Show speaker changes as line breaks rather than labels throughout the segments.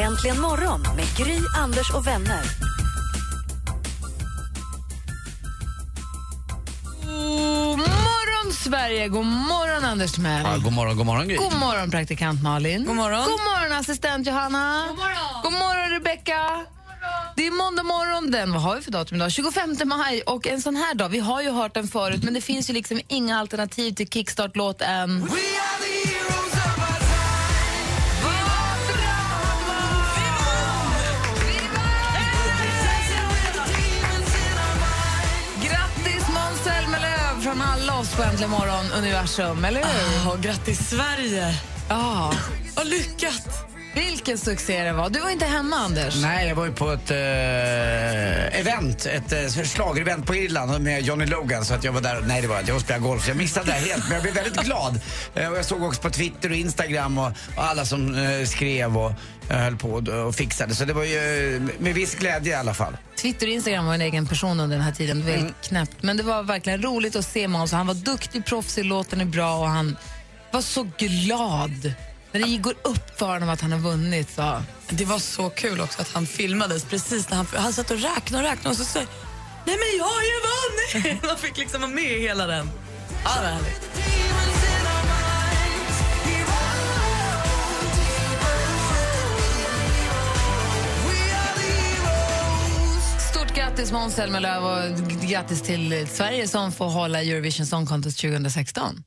Äntligen morgon med Gry, Anders och vänner.
God morgon, Sverige! God morgon, Anders Timell!
Ja, god morgon, god morgon Gry.
God morgon, praktikant Malin! God
morgon.
God morgon, assistent Johanna! God morgon, God morgon Rebecka! Det är måndag morgon den, vad har vi för datum idag? 25 maj och en sån här dag, vi har ju hört den förut men det finns ju liksom inga alternativ till kickstart-låt än. Grattis Måns Zelmerlöw från alla oss på Äntligen morgon universum, eller hur?
Ah, Och grattis Sverige!
Ja,
Vad lyckat!
vilken succé det var. Du var inte hemma Anders.
Nej, jag var ju på ett eh, event, ett eh, schlagerevent på Irland med Johnny Logan. Så att jag var där, nej det var jag inte, jag spelade golf. Jag missade det här helt, men jag blev väldigt glad. Eh, och jag såg också på Twitter och Instagram och, och alla som eh, skrev och eh, höll på och, och fixade. Så det var ju eh, med viss glädje i alla fall.
Twitter och Instagram var en egen person under den här tiden. Väldigt
Mm.
knäppt. Men det var verkligen roligt att se Måns. Han var duktig, proffsig, låten är bra och han var så glad. När det går upp för honom att han har vunnit. Så.
Det var så kul också att han filmades precis när han, han satt och räknade och räknade och så sa Nej men jag har ju vunnit! Man fick liksom vara med i hela den. Ja, det var härligt.
Stort grattis Måns Zelmerlöw och g- grattis till Sverige som får hålla Eurovision Song Contest 2016.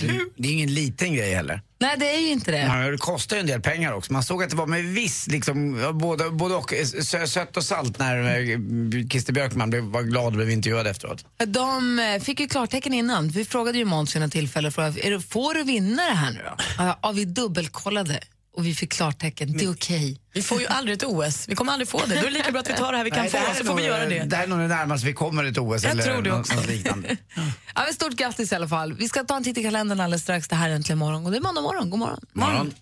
Det, det är ingen liten grej heller.
Nej, det är ju inte det.
Ja, det kostar ju en del pengar också. Man såg att det var med viss, liksom, ja, både, både och, sö, sött och salt när eh, Christer Björkman blev, var glad och blev intervjuad efteråt.
De eh, fick ju klartecken innan. Vi frågade ju Måns vid något tillfälle, frågade, är det, får du vinna det här nu då? Ja, Ja, vi dubbelkollade och vi fick klartecken, det är okej.
Vi får ju aldrig ett OS. Vi kommer aldrig få det. Då är det lika bra att vi tar det här vi kan
Nej,
få
det här
så
är
får vi
nog,
göra
eh,
det.
Det här är nog det närmaste vi kommer ett OS
Jag
eller
tror det
något,
också.
något liknande.
Ja, men stort grattis i alla fall. Vi ska ta en titt i kalendern alldeles strax. Det här är Äntligen morgon och det är måndag morgon. God morgon.
Morgon.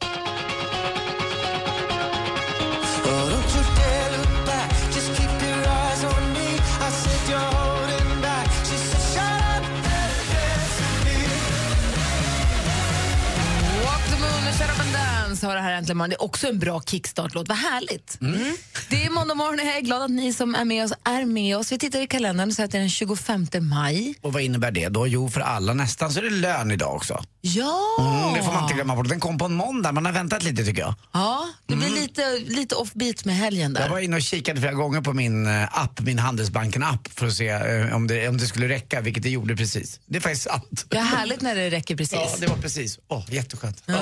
Walk the moon och Shut up and dance har det här Äntligen morgon. Det är också en bra kickstart-låt. Vad härligt.
Mm.
Mm. Det är måndag morgon och jag är glad att ni som är med oss är med oss. Vi tittar i kalendern och ser att det är den 25 maj.
Och vad innebär det då? Jo, för alla nästan så är det lön idag också.
Ja!
Mm, det får man inte glömma bort. Den kom på en måndag, man har väntat lite tycker jag.
Ja, det blir
Mm.
lite, lite offbeat med helgen
Jag
där.
var inne och kikade flera gånger på min eh, app, min Handelsbanken-app för att se eh, om det, om det skulle räcka, vilket det gjorde precis. Det är faktiskt sant.
Det är härligt när det räcker
Ja,
precis.
det var precis. Åh, jätteskönt.
Ja.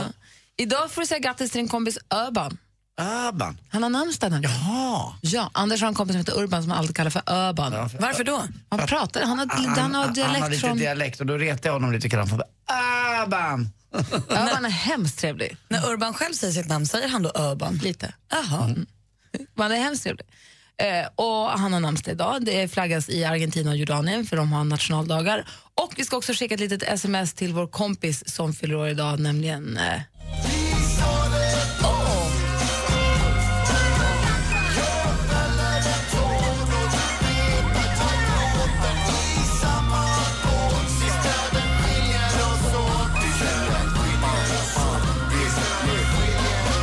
Idag får du säga grattis till din kompis Öban.
Urban.
Han har namnsdag nu.
Ja.
Ja, Anders har en kompis som heter Urban som han alltid kallar för Öban.
Varför då?
Han pratar, han har, han, har dialekt
Ah, han har lite
från...
dialekt och då retar jag honom lite grann. För bara, Urban!
Ja, han är hemskt trevlig.
När Urban själv säger sitt namn, säger han då Urban?
Lite.
Jaha.
Han är hemskt trevlig. Eh, och han har namnsdag idag. Det flaggas i Argentina och Jordanien för de har nationaldagar. Och vi ska också skicka ett litet sms till vår kompis som fyller år idag, nämligen... Eh,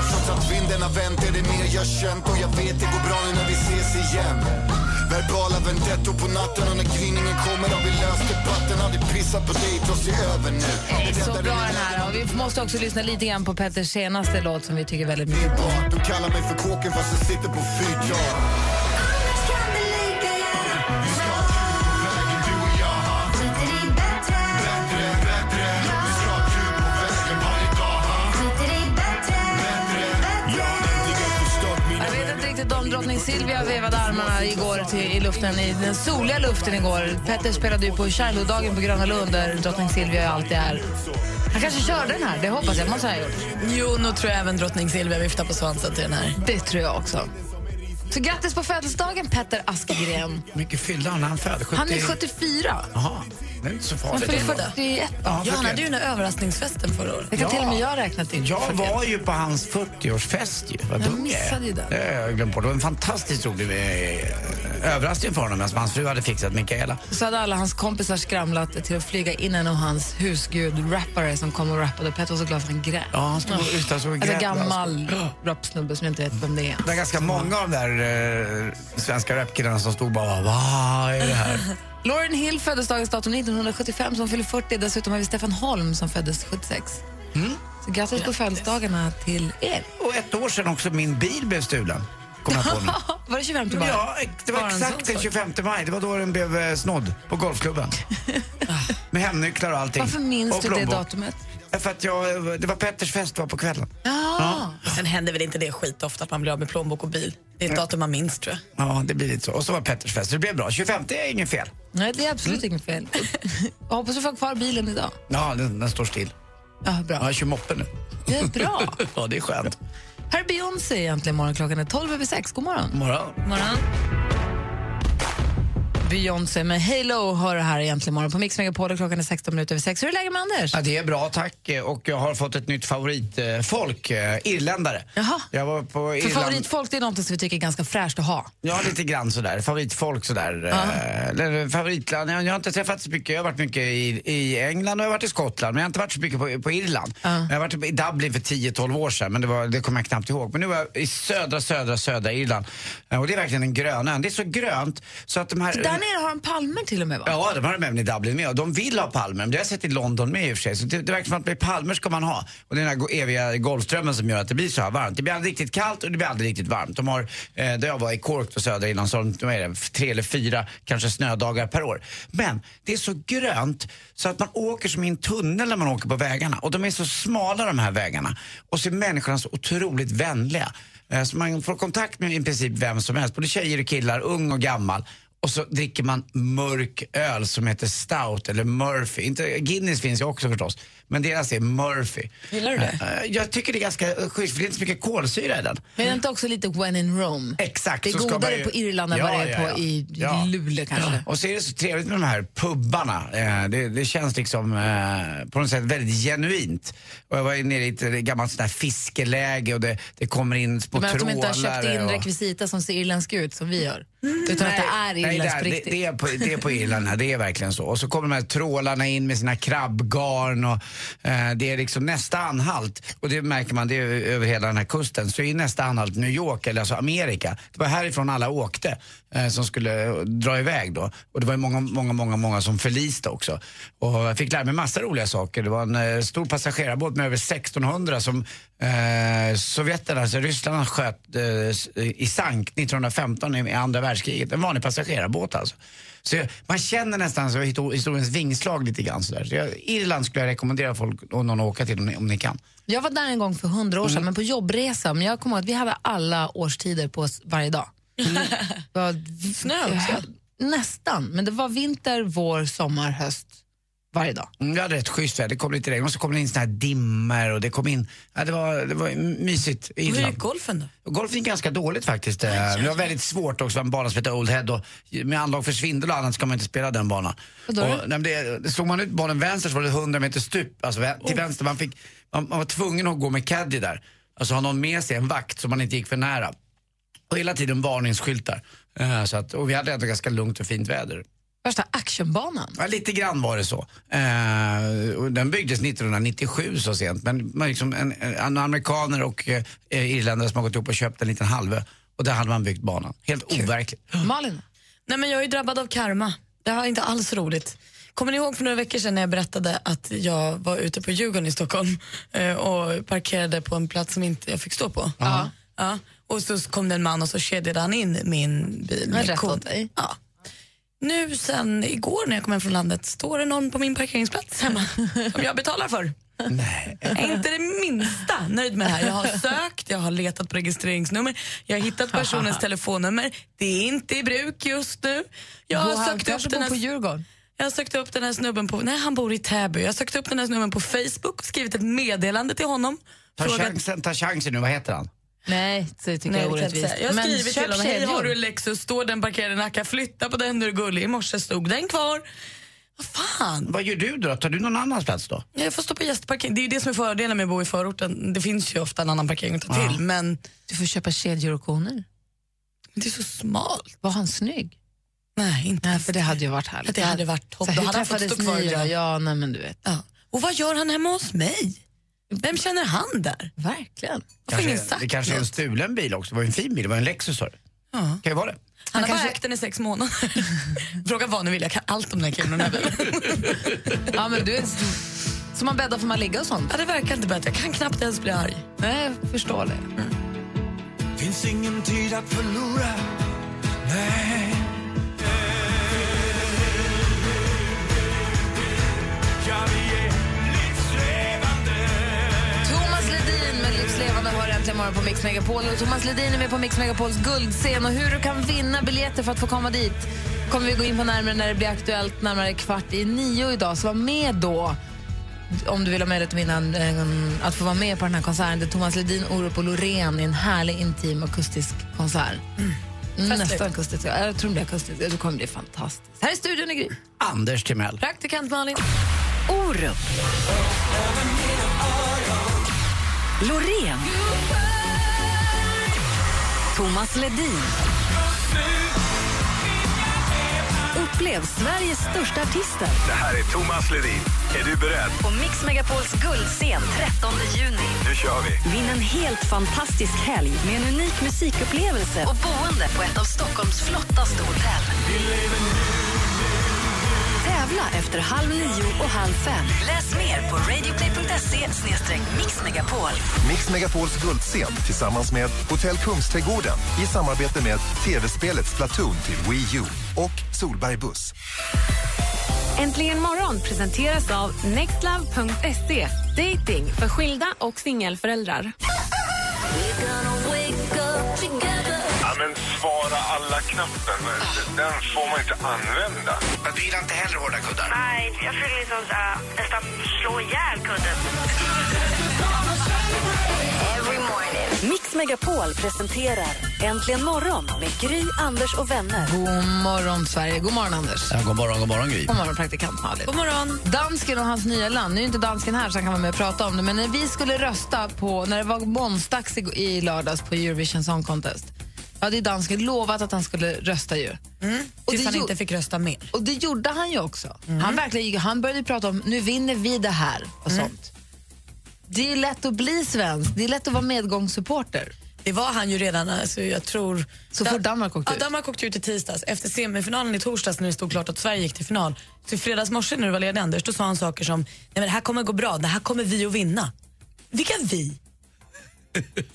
Trots att vinden har vänt är det mer jag känt och jag vet det går bra nu när vi ses igen Verbala vendettor på natten och när gryningen kommer har vi löst debatten Aldrig pissat på dig trots det är över nu
så bra den här. Och vi måste också lyssna lite grann på Petters senaste låt som vi tycker väldigt mycket om.
Bart, De kallar mig för kåken fast jag sitter på fyrkant
Jag vet inte riktigt om drottning Silvia vevade armarna igår till, i luften, i den soliga luften igår. Petter spelade ju på Kärledagen på Gröna Lund där drottning Silvia alltid är. Han kanske körde den här, det hoppas jag. Måste ha gjort.
Jo, nu tror jag även drottning Silvia viftar på svansen till den här.
Det tror jag också. Så grattis på födelsedagen, Petter Askegren.
Hur mycket fyllde han när han föddes? 70...
Han är 74.
Jaha, det är inte så
Han
farligt.
fyller
ändå.
41.
Ja,
Ja, han
41.
hade ju den där överraskningsfesten förra året.
Det kan
Ja.
till och med jag räkna till.
Jag
41.
var ju på hans 40-årsfest ju. Vad
Jag
dum jag
missade ju den.
Det har jag glömt bort. Det var en fantastiskt rolig eh, överraskning för honom som hans fru hade fixat, Mikaela.
Så hade alla hans kompisar skramlat till att flyga in en av hans husgud-rappare som kom och rappade. Petter var så glad för han grät.
Ja, han stod utan och grät.
Alltså gammal
Alltså. Ja.
rapsnubbe som jag inte vet vem det är.
Det var ganska många av de där eh, svenska rapkillarna som stod bara vad är det här?
Lauren Hill föddes dagens datum 1975, som fyller 40. Dessutom har vi Stefan Holm som föddes 76.
Mm.
Så grattis på födelsedagarna till er.
Och ett år sedan också min bil blev stulen. Kom jag på nu.
Var det 25 bara?
Ja, ex- det var
Bara en
exakt
sån
den
sak.
25 maj. Det var då den blev eh, snodd på golfklubben. Med hemnycklar och allting.
Varför minns
och
du det
plånbok.
datumet?
Ja, För att jag, det var Petters fest var på kvällen.
Ja.
Sen händer väl inte det skitofta att man blir av med plånbok och bil. Det är ett datum man minns tror jag.
Ja, det blir lite så. Och så var Petters fest. Det blev bra. 25 är inget fel.
Nej, det är absolut
Mm.
inget fel. Jag hoppas du får kvar bilen idag.
Ja, den, den står still.
Ja,
Ja,
bra.
jag kör moppe nu.
Det är bra.
Ja, det är skönt.
Här är Beyoncé egentligen morgon. Klockan är 12 över 6. God morgon.
Morgon.
morgon. Beyoncé med Halo hör det här egentligen morgon på Mix Megapol och klockan är 16 minuter över 6. Hur är läget med Anders?
Ja, det är bra, tack. Och jag har fått ett nytt favoritfolk, eh, irländare.
Jaha.
Jag var på
För
Irland...
favoritfolk det är något som vi tycker är ganska fräscht att ha.
Ja, lite grann sådär. Favoritfolk sådär. Eh, Eller favoritland. Jag, jag har inte träffat så mycket. Jag har varit mycket i, i England och jag har varit i Skottland. Men jag har inte varit så mycket på, på Irland. Jag har varit i Dublin för 10-12 år sedan, men det, var, det kommer jag knappt ihåg. Men nu var jag i södra, södra, södra Irland. Eh, Och det är verkligen en grön ö. Det är så grönt så att de här...
Där nere har de palmer till och med va?
Ja, de har de även i Dublin med. Och de vill ha palmer. Men det har jag sett i London med i och för sig. Så det, det verkar som att med palmer ska man ha. Och det är den här go- eviga golfströmmen som gör att det blir så här varmt. Det blir aldrig riktigt kallt och det blir aldrig riktigt varmt. De har, eh, där jag var i Cork och södra innan, så har de vad är det, tre eller fyra kanske snödagar per år. Men det är så grönt så att man åker som i en tunnel när man åker på vägarna. Och de är så smala de här vägarna. Och så är människorna så otroligt vänliga. Eh, Så man får kontakt med i princip vem som helst, både tjejer och killar, ung och gammal. Och så dricker man mörk öl som heter Stout eller Murphy. Inte, Guinness finns ju också förstås, men deras är Murphy.
Gillar du det?
Eh, Jag tycker det är ganska eh, schysst, för det är inte så mycket kolsyra i den.
Men är det inte också lite when in Rome?
Exakt.
Det är
så ska
godare
man ju-
på Irland än vad det är på i Luleå kanske.
Och så är det så trevligt med de här pubbarna. Eh, det, det känns liksom eh, på något sätt väldigt genuint. Och jag var ju nere i ett eh, gammalt sånt här fiskeläge och det, det kommer in små
Men att de inte har köpt
trålare
in
och- Mm.
rekvisita som ser irländska ut som vi gör. Utan att det är irländskt på
det,
riktigt.
det, är på, det är på Irland, här, det är verkligen så. Och så kommer de här trålarna in med sina krabbgarn och eh, det är liksom nästa anhalt, och det märker man det är ju över hela den här kusten, så är nästa anhalt New York, eller alltså Amerika. Det var härifrån alla åkte eh, som skulle eh, dra iväg då. Och det var ju många, många, många, många som förliste också. Och jag fick lära mig massa roliga saker. Det var en eh, stor passagerarbåt med över 1600 som eh, Sovjeterna, alltså ryssarna sköt eh, s- i sank 1915 i i andra världskriget. En vanlig passagerarbåt alltså. Så jag, man känner nästan så histo- historiens vingslag lite grann sådär. Så jag, Irland skulle jag rekommendera folk och någon att åka till om ni, om ni kan.
Jag var där en gång för hundra
Mm.
år sedan, men på jobbresa. Men jag kommer ihåg att vi hade alla årstider på oss varje dag. Det var
Snö också?
Nästan, men det var vinter, vår, sommar, höst varje dag.
Mm, Vi hade rätt schysst väder, det kom lite regn och så kom det in såna här dimmer och det kom in, ja, det, var, det var mysigt i
Hur gick
Irland.
golfen då?
Golf gick ganska dåligt faktiskt. eh, Det var väldigt svårt också, en bana som heter Old Head och med anlag för svindel och annat ska man inte spela den banan. Och,
Vadå?
nej, men det, slog man ut bollen vänster så var det 100 meter stup, alltså vä- till vänster. Man, fick, man, man var tvungen att gå med caddy där, alltså ha någon med sig, en vakt, så man inte gick för nära. Och hela tiden varningsskyltar. Eh, Så att, och vi hade ändå ganska lugnt och fint väder.
Värsta actionbanan.
Ja, lite grann var det så. Eh, och den byggdes 1997 så sent. Men man liksom en, en amerikaner och eh, irländare som har gått upp och köpt en liten halvö. Och där hade man byggt banan. Helt overkligt.
Malin?
Nej, men jag är ju drabbad av karma. Det här är inte alls roligt. Kommer ni ihåg för några veckor sedan när jag berättade att jag var ute på Djurgården i Stockholm eh, och parkerade på en plats som inte jag fick stå på? Ja. Och så kom det en man och så kedjade han in min bil.
var
med
rätt
kod.
åt dig.
Ja. Nu sen igår när jag kom hem från landet står det någon på min parkeringsplats hemma som jag betalar för. Jag är inte det minsta nöjd med det här. Jag har sökt, jag har letat på registreringsnummer, jag har hittat personens telefonnummer. Det är inte i bruk just nu. Jag
Gå
har,
här,
sökt
kanske
upp den
bor på
här,
Djurgården.
jag har sökt upp den här snubben på... Nej, han bor i Täby. Jag har sökt upp den här snubben på Facebook och skrivit ett meddelande till honom.
Ta
Frågat-
chansen, ta chansen nu, vad heter han?
Nej, det tycker
Nej,
jag är
det kan jag, inte
orättvist.
säga. jag har skrivit till honom, hej har du
kedjor.
en Lexus, står den parkerad i Nacka, flytta på den du är gullig. I morse stod den kvar. Vad fan,
Vad gör du då? Tar du någon annans plats då?
jag får stå på gästparkering. Det är ju det som är fördelen med att bo i förorten. Det finns ju ofta en annan parkering att ta till, men
Du får köpa kedjor och koner.
det är så smalt.
Var han snygg?
Nej, inte
Nej, för det hade ju varit härligt.
Det hade varit topp.
Så här,
Då
hur
hade han fått
träffades
stå kvar
ni
i
då?
den.
Ja, nej, men du vet.
Ja. Och vad gör han hemma hos mig? Vem känner han där?
Verkligen.
Jag får ingen sagt
det kanske är en
något.
stulen bil också. Det var ju en fin bil, det var en Lexus sa du.
Ja.
Kan ju vara det.
Han
Han har bara
kanske-
ägt den i sex månader. Fråga vad ni vill, jag kan allt om den här killen och den här bilen.
Ja, men du är som man bäddar får man ligga och sånt.
Ja, det verkar inte bättre. Jag kan knappt ens bli arg.
Nej, jag förstår det.
Finns ingen tid att förlora Nej
Thomas Ledin med Livslevande har äntligen morgon på Mix Megapol. Och Thomas Ledin är med på Mix Megapols guldscen. Och hur du kan vinna biljetter för att få komma dit kommer vi gå in på närmare när det blir aktuellt närmare kvart i nio idag. Så var med då om du vill ha möjlighet att vinna en, en, att få vara med på den här konserten. Det är Thomas Ledin, Orup och Loreen i en härlig, intim, akustisk konsert. Mm. Nästan akustisk. Ja, Jag tror det blir akustisk. Det kommer bli fantastiskt. Här är studion i Gry.
Anders Timell.
Praktikant Malin.
Orup. Loreen. Thomas Ledin. Upplev Sveriges största artister
Det här är Thomas Ledin. Är du beredd?
på Mix Megapols guldscen 13 juni.
Nu kör vi!
Vinn en helt fantastisk helg med en unik musikupplevelse och boende på ett av Stockholms flottaste hotell. Tävla efter halv nio och halv fem. Läs mer på radioplay.se mixmegapol.
Mix Megapols guldscen tillsammans med Hotell Kungsträdgården i samarbete med tv-spelet Splatoon till Wii U och Solberg Buss.
Äntligen morgon presenteras av nextlove.se. Dating för skilda och singelföräldrar.
Ja, men svara alla-knappen, den får man inte använda.
Du gillar inte heller hårda kuddar?
Nej, jag skulle liksom äh, nästan slå ihjäl kudden.
Mix Megapol presenterar Äntligen morgon med Gry, Anders och vänner.
God morgon, Sverige. God morgon, Anders.
Ja, god morgon, god morgon Gry.
God morgon, praktikant Malin.
God morgon.
Dansken och hans nya land. Nu är inte dansken här så han kan vara med och prata om det. Men när vi skulle rösta på, när det var måndags i, i lördags på Eurovision Song Contest. Hade ju dansken lovat att han skulle rösta ju. Och, det
Mm. Tills han
gjo-
inte fick rösta mer.
och det gjorde han ju också.
Mm.
Han, verkligen, han började ju prata om, nu vinner vi det här och
Mm.
sånt. Det är ju lätt att bli svensk. Det är lätt att vara medgångssupporter.
Det var han ju redan, alltså, jag tror...
Så fort Danmark åkte
ja,
ut.
Danmark åkte ut i tisdags. Efter semifinalen i torsdags när det stod klart att Sverige gick till final. Så i fredags morse när du var ledig Anders, då sa han saker som Nej, men det här kommer gå bra, det här kommer vi att vinna. Vilka vi?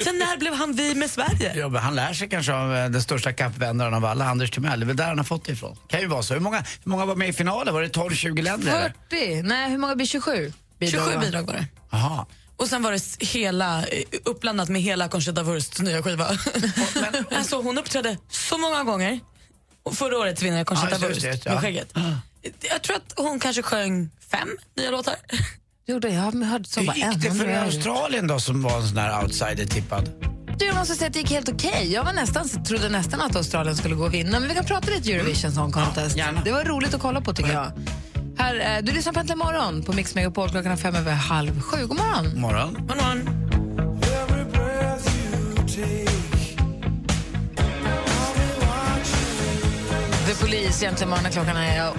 Sen när blev han vi med Sverige?
Ja, men han lär sig kanske av eh, den största kappvändaren av alla, Anders Timell. Det är väl där han har fått det ifrån. Kan ju vara så. Hur många, hur många var med i finalen? Var det 12-20 länder? eller?
40? Nej, hur många blir 27? Bidrag,
27
va?
bidrag var det.
Jaha.
Och sen var det s- hela, eh, uppblandat med hela Conchita Wursts nya skiva.
men-
alltså hon uppträdde så många gånger. Och förra årets vinnare
Ja,
Conchita
just det,
Wurst
just det,
med
ja. Ah.
skägget. Jag tror att hon kanske sjöng fem nya låtar.
Jo, det, jag har hört så
Hur
bara
gick det
en,
för
men jag-
Australien då som var en sån här outsider tippad?
Du, jag måste säga att det gick helt okej. Jag var nästan, trodde nästan att Australien skulle gå och vinna, men vi kan prata lite Eurovision Song Contest.
Ja, Mm. gärna.
det var roligt att kolla på tycker jag. Här, eh, du lyssnar på Äntligen morgon på Mix Megapol klockan är fem över halv sju. God morgon!
Morgon.
Hon vann.
The Police, egentligen morgon klockan är o-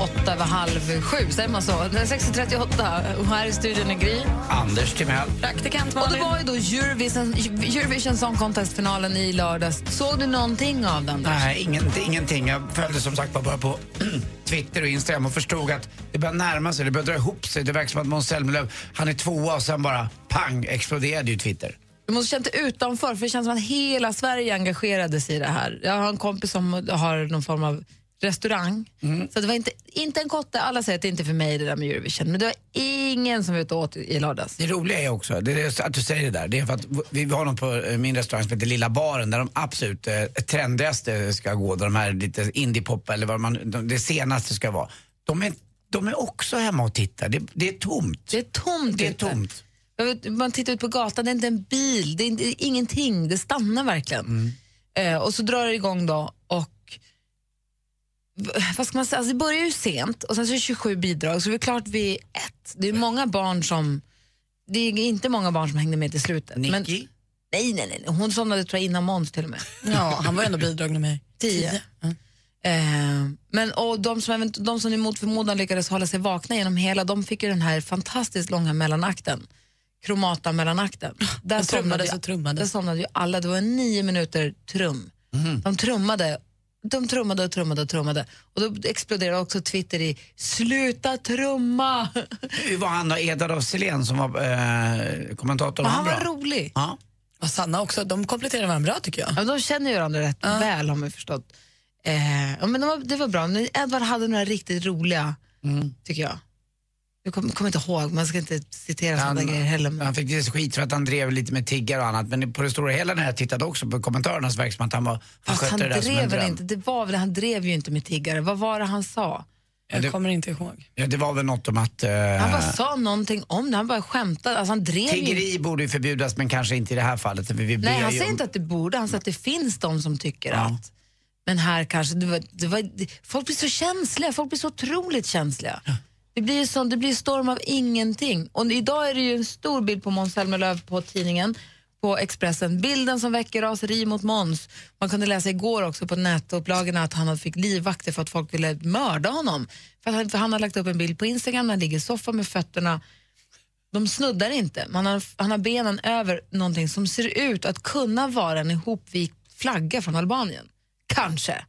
åtta över halv sju. Säger man så? Det är 6.38 och här i studion är Gry.
Anders Timell.
Praktikant
Och det
Malin.
var ju då Eurovision, Eurovision Song Contest-finalen i lördags. Såg du någonting av den? Där?
Nej, ingenting, ingenting. Jag följde som sagt bara på Twitter och Instagram och förstod att det börjar närma sig, det börjar dra ihop sig. Det verkar som att Måns Zelmerlöw, han är tvåa och sen bara pang exploderade ju Twitter.
Du måste känna dig utanför, för det känns som att hela Sverige engagerade sig i det här. Jag har en kompis som har någon form av restaurang.
Mm.
Så det var inte, inte en kotte. Alla säger att det inte är för mig det där med Eurovision. Men det var ingen som var ute och åt i lördags.
Det roliga är också, det är att du säger det där, det är för att vi har någon på eh, min restaurang som heter Lilla Baren där de absolut eh, trendigaste ska gå, där de här lite indiepop eller vad man, de, det senaste ska vara. De är, de är också hemma och tittar, det, det är tomt.
Det är tomt
Det är
ute.
tomt.
Jag vet, Man tittar ut på gatan, det är inte en bil, det är, inte, det är ingenting, det stannar verkligen. Eh, och så drar det igång då och v- vad ska man säga, alltså det börjar ju sent och sen så är det 27 bidrag så det är klart vi ett. Det är många barn som, det är inte många barn som hängde med till slutet. Nicky? Men, nej, nej, nej, hon somnade tror jag innan Måns till och med.
Ja, han var ändå bidrag nummer
Tio. Eh, men och de som, event- de som emot förmodan lyckades hålla sig vakna genom hela, de fick ju den här fantastiskt långa mellanakten. Kromata mellanakten. Där
Och trummades
ju-
och trummades.
Där somnade ju alla. Det var nio minuter trum.
Mhm.
De trummade de trummade och trummade och trummade. Och då exploderade också Twitter i “sluta trumma”.
Hur var han då, Edvard av Silén som var eh, kommentator?
Men han var
bra?
rolig.
Ja.
Och Sanna också, de kompletterar varandra bra tycker jag.
Ja, de känner ju varandra rätt väl har man ju förstått. Eh, ja, men det, var, det var bra. Men Edvard hade några riktigt roliga, tycker jag. Jag kommer kommer inte ihåg, man ska inte citera sådana grejer heller. Men...
Han fick lite skit för att han drev lite med tiggar och annat men på det stora hela när jag tittade också på kommentarerna så verkar det som att han, var, han
Fast
skötte
han
det där som en
drev väl
dröm.
inte, det var väl, han drev ju inte med tiggare. Vad var det han sa?
Ja, det,
Kommer inte ihåg.
ja, det var väl något om att eh,
Han bara sa någonting om det, han bara skämtade. Alltså han drev ju
tiggeri borde ju förbjudas men kanske inte i det här fallet. för Vi ber
Nej, han
ju
säger
om-
inte att det borde, han säger att det finns de som tycker att men här kanske, det var, det var, det, folk blir så känsliga, folk blir så otroligt känsliga. Det blir ju sån, det blir storm av ingenting. Och idag är det ju en stor bild på Måns Zelmerlöw på tidningen, på Expressen. Bilden som väcker raseri mot Måns. Man kunde läsa igår också på nätupplagorna att han hade fick livvakter för att folk ville mörda honom. För, att han, för han har lagt upp en bild på Instagram när han ligger i soffan med fötterna de snuddar inte. Man har, han har benen över någonting som ser ut att kunna vara en ihopvikt flagga från Albanien. Kanske.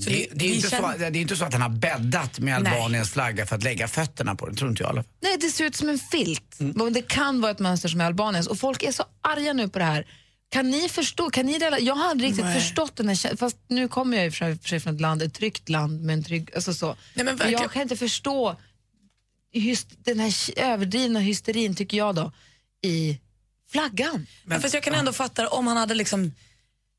Så
Det, det, är inte så, det är inte så att han har bäddat med
Nej.
Albaniens flagga för att lägga fötterna på den, tror inte jag i alla fall.
Nej, det ser ut som en filt.
Mm.
Men Det kan vara ett mönster som är Albaniens. Och folk är så arga nu på det här. Kan ni förstå? Kan ni dela? Jag har aldrig riktigt
Nej.
förstått den här kä- Fast nu kommer jag ju för för sig från ett land, ett tryggt land med en trygg... Alltså så.
men
Men
verkligen.
jag kan inte förstå hyst, den här k- överdrivna hysterin, tycker jag då, i flaggan.
Men, fast jag kan ändå fatta det, om han hade liksom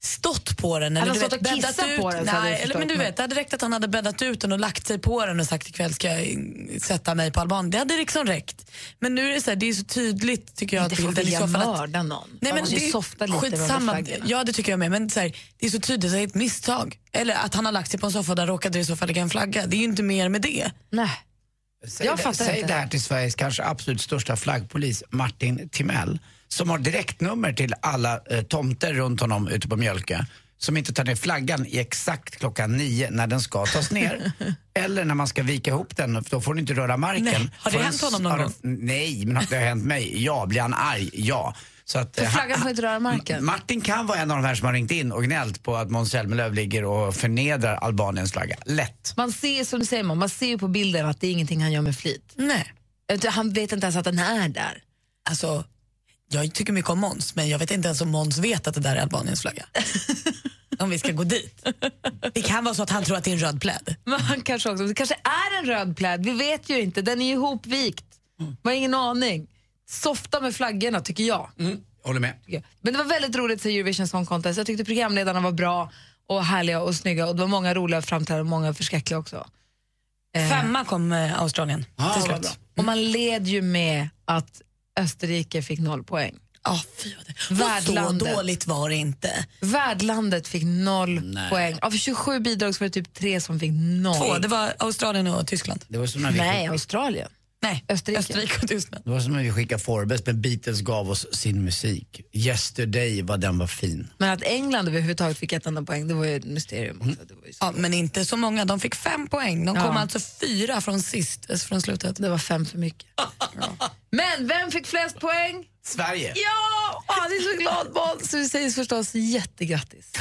stått på den. Eller,
hade
du
stått
vet,
och
bäddat
kissat
ut,
på den, så hade
Nej,
jag
eller, men du
förstått,
vet, det hade räckt att han hade bäddat ut den och lagt sig på den och sagt ikväll ska jag mm, sätta mig på alban. Det hade liksom räckt. Men nu är det så, här, det är så tydligt tycker jag.
Inte får
bilden i
vilja
så fall att-
mörda någon.
Nej,
Man
men
måste ju
det är
softa lite över
skitsamma.
flaggorna.
Ja, det tycker jag med. Men så här, det är så tydligt att det är ett misstag. Eller att han har lagt sig på en soffa och där råkade det i så fall ligga en flagga. Det är ju inte mer med det.
Nej.
Säg,
Jag
det-
fattar
säg
inte.
det här till Sveriges kanske absolut största flaggpolis, Martin Timell, som har direktnummer till alla eh, tomter runt honom ute på Mjölke som inte tar ner flaggan i exakt klockan nio när den ska tas ner. Eller när man ska vika ihop den, för då får den inte röra marken.
Nej, har det
Får den-
hänt honom någon
har den-
gång?
Nej, men har det har hänt mig? Ja. Blir han arg? Ja. Så att,
För
eh,
flaggan
han-
får inte röra
Mm.
marken.
Martin kan vara en av de här som har ringt in och gnällt på att Måns Zelmerlöw ligger och förnedrar Albaniens flagga. Lätt.
Man ser som du säger, man, man ser ju på bilden att det är ingenting han gör med flit.
Nej.
Utan Han vet inte ens att den är där.
Alltså, jag tycker mycket om Måns, men jag vet inte ens om Måns vet att det där är Albaniens flagga. om vi ska gå dit. Det kan vara så att han tror att det är en röd pläd.
Men han kanske också, det kanske är en röd pläd, vi vet ju inte. Den är ju ihopvikt. Man har ingen aning. Softa med flaggorna tycker jag.
Håller med.
tycker jag. Men det var väldigt roligt att se Eurovision Song Contest. Jag tyckte programledarna var bra och härliga och snygga och det var många roliga framträdanden och många förskräckliga också.
Femma kom eh, Australien till
Ah, vad
slut.
Och man led ju med att Österrike fick noll poäng.
Ja, fy vad det. Och så
Värdlandet.
dåligt var det inte.
Värdlandet fick noll poäng. Av 27 bidrag så var det typ tre som fick noll.
Två, det var Australien och Tyskland.
Det var som när vi
Nej, Australien.
Nej,
Österrike.
Österrike och Tyskland.
Det var som när vi skickade Forbes, men Beatles gav oss sin musik. Yesterday, vad den var fin.
Men att England överhuvudtaget fick ett enda poäng, det var ju ett mysterium
Mm.
också. Det var, ju så.
Ja, men inte så många. De fick fem poäng. De kom
Ja.
alltså fyra från sist, alltså från slutet.
det var fem för mycket. Men vem fick flest poäng?
Sverige.
Ja! Och han är så glad Måns, så vi säger förstås jättegrattis.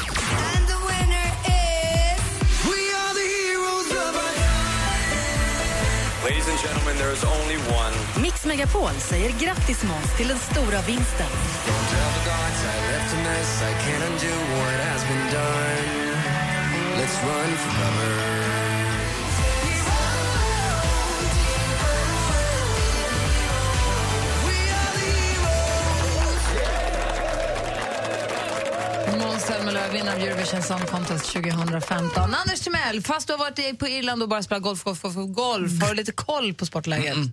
Ladies and gentlemen, there is only one.
Mix Megapol säger grattis Måns till den stora vinsten.
Måns Zelmerlöw, vinnare av Eurovision Song Contest 2015. Anders Timell, fast du har varit i- på Irland och bara spelat golf, golf,
Mm,
golf, golf har du lite koll på sportläget?
Bättre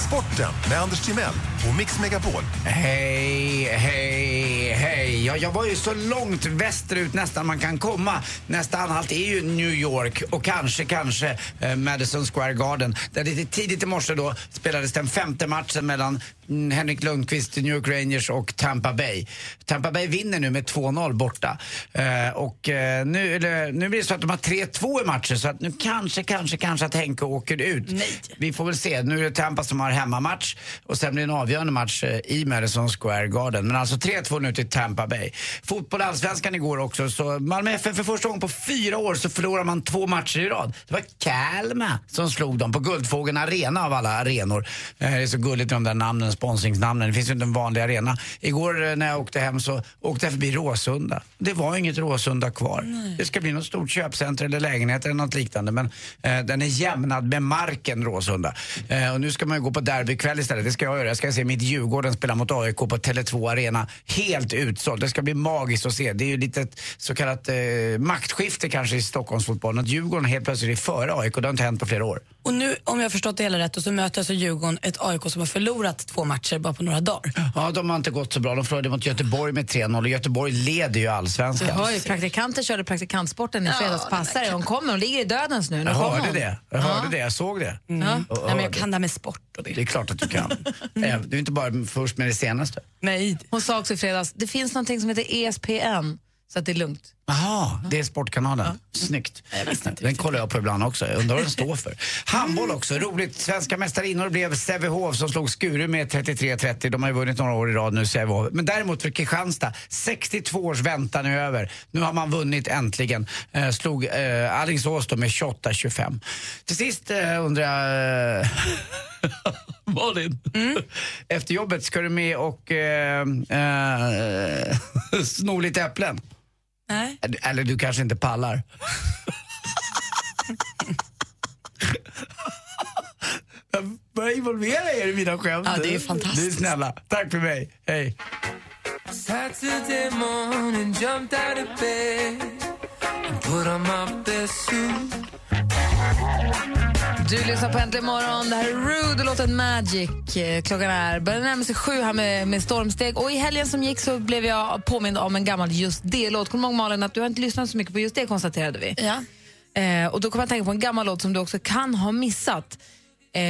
Sporten med Anders Timell och Mix Megapol.
Hej, hej, hej. Ja, jag var ju så långt västerut nästan man kan komma. Nästa anhalt är ju New York och kanske, kanske eh, Madison Square Garden. Där lite tidigt i morse då spelades den femte matchen mellan mm, Henrik Lundqvist, New York Rangers och Tampa Bay. Tampa Bay vinner nu med 2-0 borta. Eh, och eh, nu, eller, nu blir det så att de har 3-2 i matcher så att nu kanske, kanske, kanske att Henke åker ut. Vi får väl se. Nu är det Tampa som har hemmamatch och sen blir det en avgörande match eh, i Madison Square Garden. Men alltså 3-2 nu till Tampa Bay. Fotboll i allsvenskan igår också. Så Malmö FF för första gången på fyra år så förlorar man två matcher i rad. Det var Kalmar som slog dem på Guldfågeln Arena av alla arenor. Eh, Det är så gulligt med de där namnen, sponsringsnamnen. Det finns ju inte en vanlig arena. Igår eh, när jag åkte hem så åkte jag förbi Råsunda. Det var inget Råsunda kvar. Det ska bli något stort köpcenter eller lägenhet eller något liknande. Men eh, den är jämnad med marken, Råsunda. Eh, och nu ska man ju gå på derbykväll istället. Det ska jag göra. Jag ska se mitt Djurgården spela mot AIK på Tele2 Arena. Helt utsåld. Det ska bli magiskt att se. Det är ju lite ett så kallat eh, maktskifte kanske i Stockholmsfotbollen. Att Djurgården helt plötsligt är före AIK. Det har inte hänt på flera år.
Och nu, om jag har förstått det hela rätt, och så möter alltså Djurgården ett AIK som har förlorat två matcher bara på några dagar.
Ja, de har inte gått så bra. De förlorade mot Göteborg med 3-0 och Göteborg leder ju
Du
allsvenskan.
hör ju, praktikanter körde praktikantsporten i fredags. Passar Hon kommer, hon ligger i dödens nu. Nu
Jag
kom
hörde
hon.
det. Jag hörde det. Jag såg det. Mm.
Ja.
Och- och
Nej, men jag
hörde.
kan det här med sport.
det. är klart att du kan. Eh, Du är inte bara först med det senaste.
Nej.
Hon sa också i fredags, det finns någonting som heter E ESPN, så att det är lugnt.
Jaha, det är Sportkanalen. Snyggt. Den kollar jag på ibland också. Jag undrar vad den står för. Handboll också, roligt. Svenska mästarinnor blev Sävehof som slog Skuru med 33-30. De har ju vunnit några år i rad nu, Sävehof. Men däremot för Kristianstad, 62 års väntan är över. Nu har man vunnit äntligen. Eh, slog eh, Alingsås då med 28-25. Till sist eh, undrar jag... Malin, efter jobbet ska du med och eh, eh, sno lite äpplen.
Nej.
Eller du kanske inte pallar. Jag börjar involvera er i mina skämt.
Ja, det är fantastiskt.
Ni är snälla. Tack för mig. Hej.
Saturday morning, jumped out of bed and put on my best suit.
Du lyssnar på Äntligen morgon. Det här är Rude och låten Magic. Eh, Klockan är börjar närma sig sju här med, med stormsteg. Och I helgen som gick så blev jag påmind om en gammal Just det-låt. Kommer du ihåg, Malin, att du har inte lyssnat så mycket på Just det, konstaterade vi.
Ja.
Eh, och Då kom jag att tänka på en gammal låt som du också kan ha missat. Eh,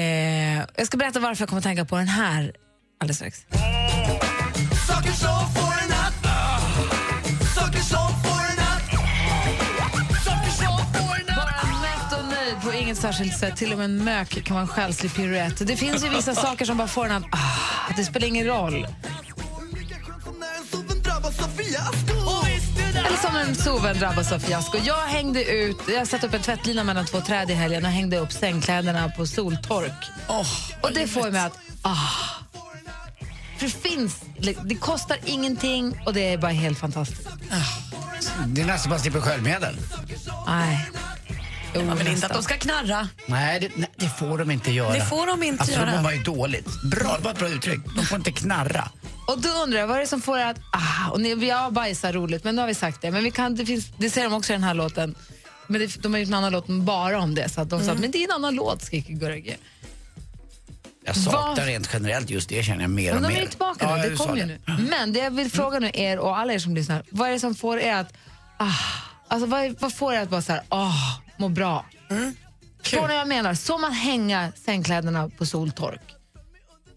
jag ska berätta varför jag kommer att tänka på den här alldeles strax.
Sucker soul for a nut. Sucker soul for a nut. Sucker soul for a nut.
Bara mätt och nöjd på inget särskilt sätt. Till och med en mök kan vara en själslig piruett. Det finns ju vissa saker som bara får en att... Ah, det spelar ingen roll. Eller som en soven drabbas av fiasko. Jag hängde ut, jag satte upp en tvättlina mellan två träd i helgen och hängde upp sängkläderna på soltork. och det får mig att... Ah, för det finns, det kostar ingenting och det är bara helt fantastiskt.
Det är nästan bara slipper sköljmedel.
Nej. Jo,
Man vill inte
nästan.
att de ska knarra.
Nej det, nej, det får de inte göra.
Det får de inte
alltså,
göra.
Det var ju dåligt. Bra, det var ett bra uttryck. De får inte knarra.
Och då undrar jag, vad är det som får er att... Ah, och ni, jag bajsar roligt, men nu har vi sagt det. Men vi kan, det, finns, det säger de också i den här låten. Men det, de har gjort en annan låt bara om det. Så att de
Mm.
sa, men det är en annan låt, skriker Gurge.
Jag saknar
Vad?
rent generellt just det känner jag mer
Men
och mer.
de är ju tillbaka
Ja,
nu, det
jag sa
kommer ju nu. Men det jag vill fråga nu er och alla er som lyssnar, vad är det som får er att... Ah, alltså vad, är- vad får er att bara så här, ah, må bra?
Mm.
Förstår ni vad jag menar? Som att hänga sängkläderna på soltork.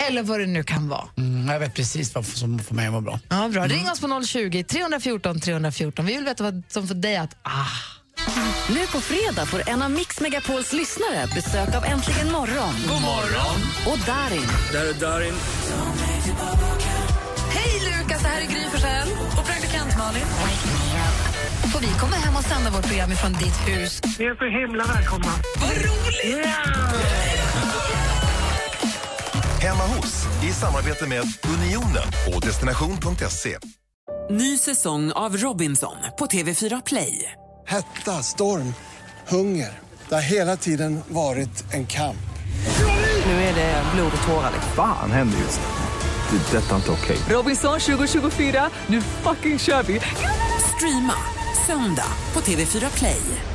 Eller vad det nu kan vara.
Mm, jag vet precis vad som får mig att må bra.
Ja, bra. Ring oss på 020 314 314. Vi vill veta vad som får dig att... Ah.
Nu på fredag får en av Mix Megapols lyssnare besök av Äntligen morgon.
God morgon.
Och Darin.
Där är Darin.
Hej Lukas, det här är Gry Forssell. Och praktikant Malin.
Får vi komma hem och sända vårt program ifrån ditt hus?
Ni är så himla välkomna. Vad roligt!
Hemma hos i samarbete med Unionen och destination.se.
Ny säsong av Robinson på TV4 Play.
Hetta, storm, hunger. Det har hela tiden varit en kamp.
Nu är det blod och tårar.
Fan händer just det. Det är detta inte okej.
Robinson 2024, nu fucking kör vi! Streama söndag på TV4 Play.